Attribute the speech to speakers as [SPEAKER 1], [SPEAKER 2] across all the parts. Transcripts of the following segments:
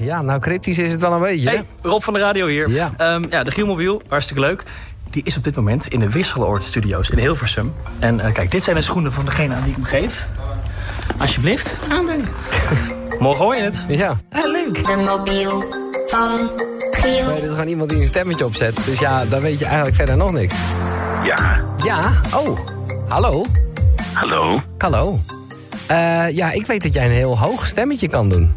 [SPEAKER 1] Ja, nou cryptisch is het wel een beetje. hè?
[SPEAKER 2] Hey, Rob van de Radio hier.
[SPEAKER 1] Ja.
[SPEAKER 2] Ehm, ja, de Gielmobiel, hartstikke leuk. Die is op dit moment in de Wisseloord Studios in Hilversum. En eh, kijk, dit zijn de schoenen van degene aan wie ik hem geef. Alsjeblieft. Morgen hoor je het.
[SPEAKER 1] Ja.
[SPEAKER 3] De mobiel van Giel.
[SPEAKER 1] Nee, dit is gewoon iemand die een stemmetje opzet. Dus ja, dan weet je eigenlijk verder nog niks.
[SPEAKER 4] Ja,
[SPEAKER 1] Ja, oh. Hallo.
[SPEAKER 4] hallo.
[SPEAKER 1] Hallo. Eh, ja, ik weet dat jij een heel hoog stemmetje kan doen.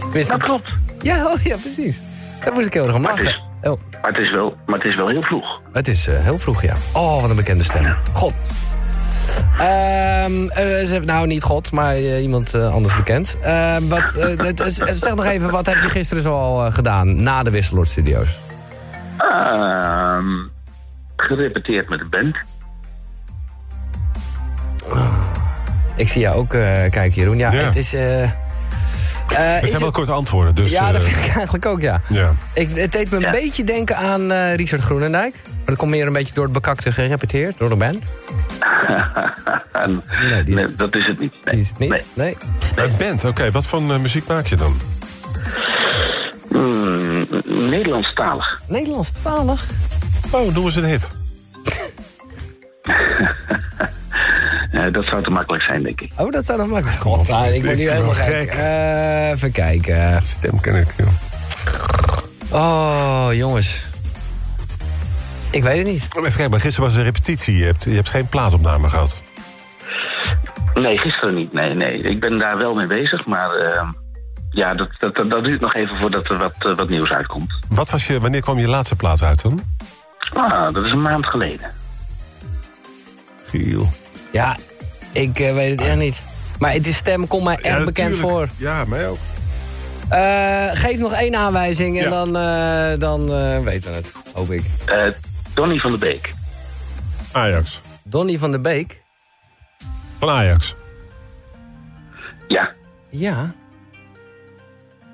[SPEAKER 1] Tenminste,
[SPEAKER 4] Dat klopt.
[SPEAKER 1] ja, oh, ja, precies. Daar moest ik heel erg om
[SPEAKER 4] het
[SPEAKER 1] lachen.
[SPEAKER 4] is-
[SPEAKER 1] Oh,
[SPEAKER 4] Maar het is wel, maar het is wel heel vroeg.
[SPEAKER 1] het is eh, heel vroeg, ja. Oh, wat een bekende stem. God. Ehm, eh, ze- nou, niet God, maar eh, iemand eh, anders bekend. Ehm, wat, eh, het is- zeg nog even, wat heb je gisteren zoal eh, gedaan na de Wisseloord Studios?
[SPEAKER 4] Ehm, gerepeteerd met de band.
[SPEAKER 1] Ik zie jou ook eh, kijken, Jeroen. Ja,
[SPEAKER 5] Ja.
[SPEAKER 1] het is... eh, eh,
[SPEAKER 5] Er
[SPEAKER 1] is
[SPEAKER 5] zijn wel
[SPEAKER 1] het-
[SPEAKER 5] korte antwoorden, dus...
[SPEAKER 1] Ja, dat
[SPEAKER 5] eh,
[SPEAKER 1] vind ik eigenlijk ook, ja.
[SPEAKER 5] ja.
[SPEAKER 1] Ik, het deed me een
[SPEAKER 4] Ja.
[SPEAKER 1] beetje denken aan eh, Richard Groenendijk. Maar dat komt meer een beetje door het bekakte gerepeteerd, door de band.
[SPEAKER 4] En,
[SPEAKER 1] Nee, die is-
[SPEAKER 4] nee, dat is het niet. Nee.
[SPEAKER 1] Die is het niet.
[SPEAKER 4] Nee.
[SPEAKER 1] Nee.
[SPEAKER 5] Een band, oké. Wat voor eh, muziek maak je dan?
[SPEAKER 4] Mm, Nederlandstalig.
[SPEAKER 1] Nederlandstalig.
[SPEAKER 5] Oh, doen we eens een hit.
[SPEAKER 4] Eh, dat zou te makkelijk zijn, denk ik.
[SPEAKER 1] Oh, dat zou nog makkelijk. God, ah, ik word nu
[SPEAKER 5] nou, ben
[SPEAKER 1] helemaal
[SPEAKER 5] wel
[SPEAKER 1] gek.
[SPEAKER 5] gek.
[SPEAKER 1] Eh, even kijken.
[SPEAKER 5] Stem ken ik, joh.
[SPEAKER 1] Oh, jongens. Ik weet het niet.
[SPEAKER 5] Even kijken, maar gisteren was een repetitie. Je hebt, je hebt geen plaatopname gehad.
[SPEAKER 4] Nee, gisteren niet. Nee, nee. Ik ben daar wel mee bezig, maar ehm, ja, dat, dat, dat, dat duurt nog even voordat er wat, eh, wat nieuws uitkomt.
[SPEAKER 5] Wat was je, wanneer kwam je laatste plaat uit dan?
[SPEAKER 4] Ah, dat is een maand geleden.
[SPEAKER 5] Giel.
[SPEAKER 1] Ja, ik eh, weet het echt niet. Maar het- die stem komt mij echt bekend voor.
[SPEAKER 5] Ja, mij ook.
[SPEAKER 1] Eh, geef nog één aanwijzing en
[SPEAKER 5] Ja.
[SPEAKER 1] dan, eh, dan eh, weten we het, hoop ik.
[SPEAKER 4] Eh Donny van de Beek.
[SPEAKER 5] Ajax.
[SPEAKER 1] Donny van der Beek.
[SPEAKER 5] Van Ajax.
[SPEAKER 4] Ja,
[SPEAKER 1] Ja.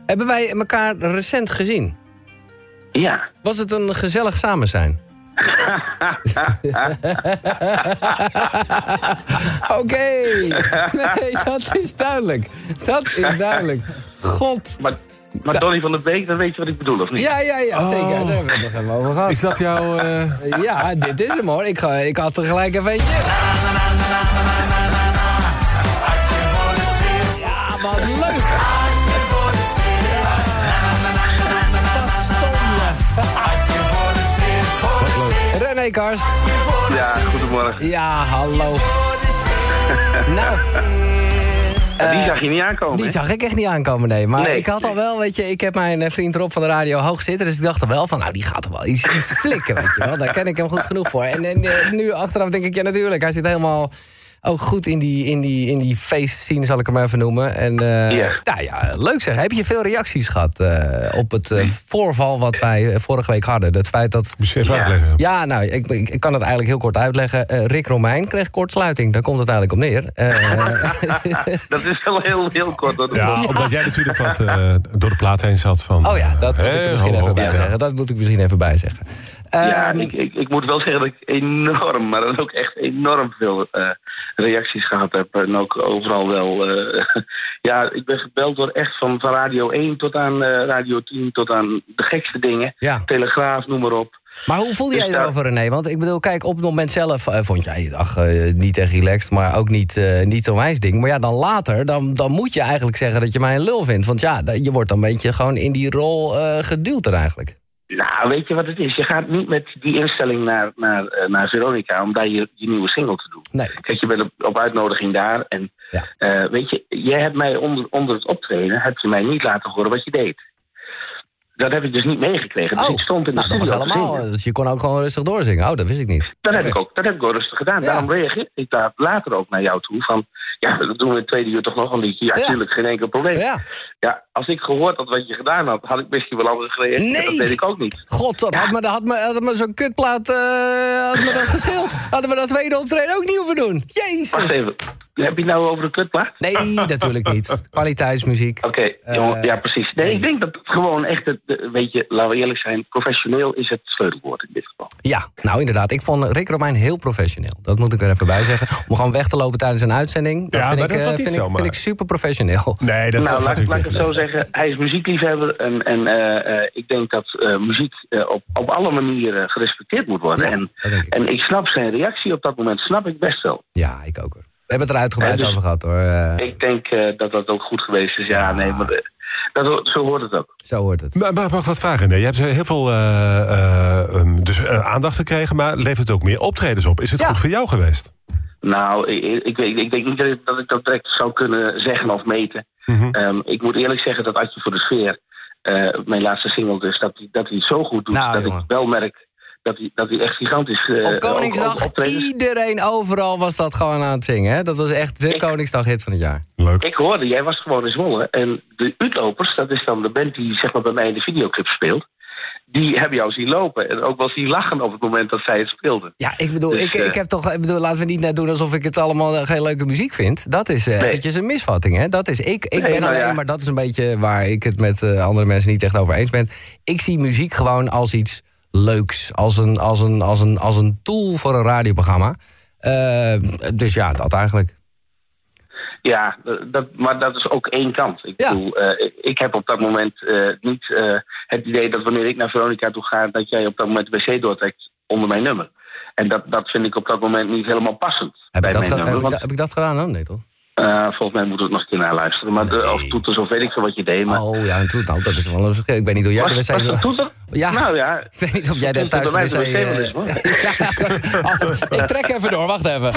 [SPEAKER 1] Hebben wij elkaar recent gezien?
[SPEAKER 4] ja.
[SPEAKER 1] Was het een gezellig samen zijn? Oké. Nee, dat is duidelijk. Dat is duidelijk. God.
[SPEAKER 4] Maar, maar Donny van de Beek, dan weet je wat ik bedoel, of niet?
[SPEAKER 1] Ja, ja, ja, zeker. Daar hebben we het nog even over gehad.
[SPEAKER 5] Is dat jouw... eh,
[SPEAKER 1] Ja, dit is hem hoor. Ik, ga- ik had er gelijk even eentje. Ja, wat leuk. Wat stom, je. René Karst.
[SPEAKER 4] Ja, goedemorgen.
[SPEAKER 1] Ja, hallo. Nou,
[SPEAKER 4] die zag je niet aankomen,
[SPEAKER 1] Eh, die
[SPEAKER 4] hè?
[SPEAKER 1] zag ik echt niet aankomen, nee. Maar
[SPEAKER 4] Nee,
[SPEAKER 1] ik had al
[SPEAKER 4] nee.
[SPEAKER 1] wel, weet je, ik heb mijn eh, vriend Rob van de radio hoog zitten. Dus ik dacht al wel van, nou, die gaat er wel iets, iets flikken, weet je wel. Daar ken ik hem goed genoeg voor. En, en, eh, nu achteraf denk ik, ja, natuurlijk, hij zit helemaal ook goed in die, in die, in die feestscene, zal ik hem maar even noemen. En eh,
[SPEAKER 4] Ja.
[SPEAKER 1] nou ja, leuk zeg. Heb je veel reacties gehad eh, op het eh, voorval wat wij eh, vorige week hadden? Dat feit dat...
[SPEAKER 5] Moet je even
[SPEAKER 4] Ja.
[SPEAKER 5] uitleggen.
[SPEAKER 1] Ja, nou, ik, ik, ik kan het eigenlijk heel kort uitleggen. Eh, Rick Romein kreeg kortsluiting, daar komt het eigenlijk op neer. Eh,
[SPEAKER 4] Dat is wel heel, heel kort. hoor.
[SPEAKER 5] Ja, omdat jij natuurlijk wat eh, door de plaat heen zat van...
[SPEAKER 1] Oh ja, dat moet ik
[SPEAKER 5] eh,
[SPEAKER 1] er misschien
[SPEAKER 5] ho, ho,
[SPEAKER 1] even bij
[SPEAKER 5] ja.
[SPEAKER 1] zeggen. Dat moet ik misschien even bij zeggen.
[SPEAKER 4] Ja,
[SPEAKER 1] Ehm,
[SPEAKER 4] ik, ik, ik moet wel zeggen dat ik enorm, maar dan ook echt enorm veel eh, reacties gehad heb. En ook overal wel. eh, ja, ik ben gebeld door echt van, van Radio 1 tot aan eh, Radio 10 tot aan de gekste dingen.
[SPEAKER 1] Ja.
[SPEAKER 4] Telegraaf, noem maar op.
[SPEAKER 1] Maar hoe voelde
[SPEAKER 4] Dus
[SPEAKER 1] jij
[SPEAKER 4] daar-
[SPEAKER 1] erover, René? Want ik bedoel, kijk, op het moment zelf eh, vond jij je dag eh, niet echt relaxed, maar ook niet, eh, niet zo'n wijs ding. Maar ja, dan later, dan, dan moet je eigenlijk zeggen dat je mij een lul vindt. Want ja, da- je wordt dan een beetje gewoon in die rol eh, geduwd er eigenlijk.
[SPEAKER 4] Nou, weet je wat het is? Je gaat niet met die instelling naar, naar, eh, naar Veronica om daar je, je nieuwe single te doen.
[SPEAKER 1] Nee.
[SPEAKER 4] Kijk, je bent op, op uitnodiging daar. En
[SPEAKER 1] Ja.
[SPEAKER 4] eh, weet je, jij hebt mij onder, onder het optreden heb je mij niet laten horen wat je deed. Dat heb ik dus niet meegekregen. Dus
[SPEAKER 1] Oh,
[SPEAKER 4] ik stond in de
[SPEAKER 1] nou, dat was
[SPEAKER 4] studio. te
[SPEAKER 1] allemaal.
[SPEAKER 4] zingen.
[SPEAKER 1] Dus je kon ook gewoon rustig doorzingen. Oh, dat wist ik niet.
[SPEAKER 4] Dat heb
[SPEAKER 1] Oké.
[SPEAKER 4] ik ook. Dat heb ik ook rustig gedaan.
[SPEAKER 1] Ja.
[SPEAKER 4] Daarom reageer ik daar later ook naar jou toe. Van, ja, dat doen we in het tweede uur toch nog een liedje. Ja,
[SPEAKER 1] Ja.
[SPEAKER 4] natuurlijk, geen enkel probleem.
[SPEAKER 1] Ja.
[SPEAKER 4] Ja, als ik gehoord had wat je gedaan had, had ik misschien wel anders gereageerd.
[SPEAKER 1] Nee.
[SPEAKER 4] Dat weet ik ook niet.
[SPEAKER 1] God, dat had me, dat had me, had me zo'n kutplaat eh had me dat geschild. Hadden we dat tweede optreden ook niet hoeven doen. Jezus.
[SPEAKER 4] Wacht even. heb je het nou over een kutplaat?
[SPEAKER 1] Nee, natuurlijk niet. Kwaliteitsmuziek.
[SPEAKER 4] Oké, jongen, ja precies. Nee, ik denk dat het gewoon echt, het, eh, weet je, laten we eerlijk zijn, professioneel is het sleutelwoord in dit geval.
[SPEAKER 1] Ja, nou inderdaad. Ik vond Rick Romein heel professioneel. Dat moet ik er even bij zeggen. Om gewoon weg te lopen tijdens een uitzending. Dat
[SPEAKER 5] Ja,
[SPEAKER 1] vind
[SPEAKER 5] maar
[SPEAKER 1] ik,
[SPEAKER 5] dat
[SPEAKER 1] eh,
[SPEAKER 5] was niet
[SPEAKER 1] vind ik,
[SPEAKER 5] zomaar.
[SPEAKER 1] vind ik super professioneel.
[SPEAKER 5] Nee, dat
[SPEAKER 4] nou,
[SPEAKER 5] dat
[SPEAKER 4] laat, laat ik
[SPEAKER 5] gaat natuurlijk
[SPEAKER 4] het
[SPEAKER 5] niet.
[SPEAKER 4] zo zeggen, hij is muziekliefhebber en, en eh, eh, ik denk dat eh, muziek eh, op, op alle manieren gerespecteerd moet worden. en,
[SPEAKER 1] dat denk ik.
[SPEAKER 4] en ik snap zijn reactie op dat moment, snap ik best wel.
[SPEAKER 1] Ja, ik ook hoor. We hebben het er uitgebreid
[SPEAKER 4] Ja, dus-
[SPEAKER 1] over gehad hoor. Eh,
[SPEAKER 4] Ik denk eh, dat dat ook goed geweest is. Ja, nee, maar eh, dat, ho- zo hoort het ook.
[SPEAKER 1] zo hoort het.
[SPEAKER 5] Maar, maar mag ik wat vragen? Nee, je hebt eh, heel veel eh, eh, ehm, dus, eh, aandacht gekregen, maar levert het ook meer optredens op? Is het
[SPEAKER 1] Ja.
[SPEAKER 5] goed voor jou geweest?
[SPEAKER 4] Nou, ik, ik- ik, weet- ik denk niet dat ik- dat ik dat direct zou kunnen zeggen of meten.
[SPEAKER 5] Mhm.
[SPEAKER 4] Ehm, ik moet eerlijk zeggen dat Adje voor de Sfeer, eh, mijn laatste single dus, dat hij dat hij het zo goed doet.
[SPEAKER 1] Nou,
[SPEAKER 4] dat
[SPEAKER 1] jongen.
[SPEAKER 4] ik wel merk dat hij, dat hij echt gigantisch... eh,
[SPEAKER 1] Op
[SPEAKER 4] ook-
[SPEAKER 1] Koningsdag,
[SPEAKER 4] ook optredens-
[SPEAKER 1] iedereen overal was dat gewoon aan het zingen. Hè? Dat was echt de Koningsdag-hit van het jaar.
[SPEAKER 5] Leuk.
[SPEAKER 4] Ik hoorde, jij was gewoon in Zwolle. En de Uitlopers, dat is dan de band die zeg maar, bij mij in de videoclip speelt. Die hebben jou zien lopen. En ook wel zien lachen op het moment dat zij het speelden.
[SPEAKER 1] Ja, ik bedoel,
[SPEAKER 4] Dus,
[SPEAKER 1] ik,
[SPEAKER 4] eh,
[SPEAKER 1] ik heb toch, ik bedoel, laten we niet net doen alsof ik het allemaal eh, geen leuke muziek vind. Dat is eh,
[SPEAKER 4] Nee.
[SPEAKER 1] eventjes een misvatting, hè? Dat is, ik ik
[SPEAKER 4] Nee,
[SPEAKER 1] ben
[SPEAKER 4] nou
[SPEAKER 1] alleen,
[SPEAKER 4] ja.
[SPEAKER 1] maar dat is een beetje waar ik het met eh, andere mensen niet echt over eens ben. Ik zie muziek gewoon als iets leuks, als een, als een, als een, als een tool voor een radioprogramma. Eh, dus ja, dat eigenlijk.
[SPEAKER 4] Ja, dat, maar dat is ook één kant. Ik
[SPEAKER 1] Ja.
[SPEAKER 4] bedoel, eh, ik- ik heb op dat moment eh, niet eh, het idee dat wanneer ik naar Veronica toe ga... dat jij op dat moment de wc doortrekt onder mijn nummer. En dat, dat vind ik op dat moment niet helemaal passend
[SPEAKER 1] Heb
[SPEAKER 4] bij
[SPEAKER 1] ik, dat
[SPEAKER 4] mijn
[SPEAKER 1] ge-
[SPEAKER 4] nummer.
[SPEAKER 1] heb, ik,
[SPEAKER 4] want,
[SPEAKER 1] da- heb ik dat gedaan? Oh, nee, toch?
[SPEAKER 4] eh, volgens mij moeten we het nog een keer naar luisteren. Maar, de- Of toeters of weet ik veel wat je deed. Maar
[SPEAKER 1] Oh ja, en toen, nou, dat is wel een verschil. Ik weet niet hoe jij de
[SPEAKER 4] was, was
[SPEAKER 1] wc
[SPEAKER 4] het toeter?
[SPEAKER 1] Ja.
[SPEAKER 4] Nou ja,
[SPEAKER 1] Ik weet niet of jij daar thuis
[SPEAKER 4] Volgens
[SPEAKER 1] de
[SPEAKER 4] mij
[SPEAKER 1] wc...
[SPEAKER 4] is het wel
[SPEAKER 1] eh, Ja, oh, ik trek even door, wacht even.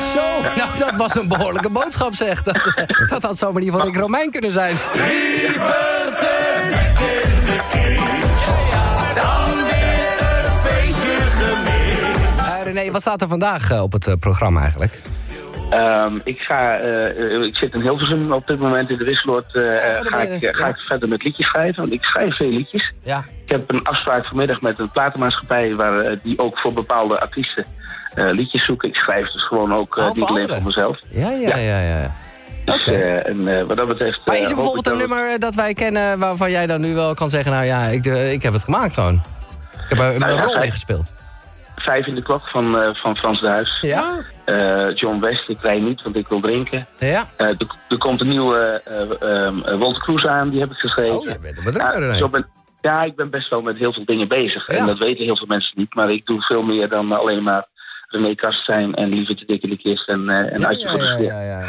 [SPEAKER 1] Zo, nou dat was een behoorlijke boodschap zeg. Dat, eh, dat had zomaar niet van Rick Romein kunnen zijn. Eh, René, wat staat er vandaag eh, op het eh, programma eigenlijk?
[SPEAKER 4] Ehm, ik, ga, eh, eh, ik zit in Hilversum op dit moment in de Wisseloord. eh, eh,
[SPEAKER 1] Oh, dat
[SPEAKER 4] ga,
[SPEAKER 1] ben je.
[SPEAKER 4] ik, eh, ga ik verder met liedjes schrijven? Want ik schrijf veel liedjes.
[SPEAKER 1] Ja.
[SPEAKER 4] Ik heb een afspraak vanmiddag met een platenmaatschappij... Waar, eh, die ook voor bepaalde artiesten eh, liedjes zoeken. Ik schrijf dus gewoon ook eh,
[SPEAKER 1] Oh, voor
[SPEAKER 4] niet alleen
[SPEAKER 1] anderen?
[SPEAKER 4] voor mezelf.
[SPEAKER 1] Ja, ja, ja, ja.
[SPEAKER 4] Dus, eh, en eh, wat dat betreft...
[SPEAKER 1] Maar is
[SPEAKER 4] eh,
[SPEAKER 1] er
[SPEAKER 4] hoop
[SPEAKER 1] bijvoorbeeld een
[SPEAKER 4] ik dat
[SPEAKER 1] nummer eh, dat wij kennen waarvan jij dan nu wel kan zeggen... nou ja, ik, eh, ik heb het gemaakt gewoon. Ik heb er
[SPEAKER 4] Nou
[SPEAKER 1] een
[SPEAKER 4] ja,
[SPEAKER 1] rol
[SPEAKER 4] hij-
[SPEAKER 1] in gespeeld.
[SPEAKER 4] het Vijf in de klok van, eh, van Frans Duis.
[SPEAKER 1] Ja?
[SPEAKER 4] Eh, John West, ik rij niet, want ik wil drinken.
[SPEAKER 1] Ja.
[SPEAKER 4] Eh, er, er komt een nieuwe eh ehm, eh, Walter Cruz aan, die heb ik geschreven.
[SPEAKER 1] Oh, je bent een bedrijf, René.
[SPEAKER 4] ja, zo ben- ja, ik ben best wel met heel veel dingen bezig.
[SPEAKER 1] Ja.
[SPEAKER 4] En dat weten heel veel mensen niet. Maar ik doe veel meer dan alleen maar René Kast zijn en Lieve te Dikke de Kist en, eh en Adje voor de Sfeer.
[SPEAKER 1] ja, ja, ja.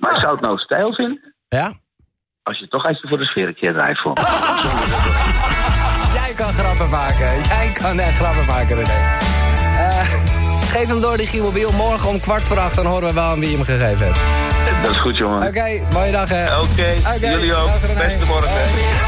[SPEAKER 4] Maar ik zou het nou stijl vinden
[SPEAKER 1] Ja?
[SPEAKER 4] als je toch Adje voor de Sfeer een keer draait voor.
[SPEAKER 1] Jij kan grappen maken. Jij kan echt grappen maken, René. Eh, geef hem door, die Gielmobiel. Morgen om kwart voor acht, dan horen we wel aan wie je hem gegeven hebt.
[SPEAKER 4] Eh, dat is goed, jongen.
[SPEAKER 1] Oké, mooie dag, hè.
[SPEAKER 4] Oké,
[SPEAKER 1] Oké,
[SPEAKER 4] jullie ook.
[SPEAKER 1] dag, René.
[SPEAKER 4] Beste morgen.
[SPEAKER 1] Hoi.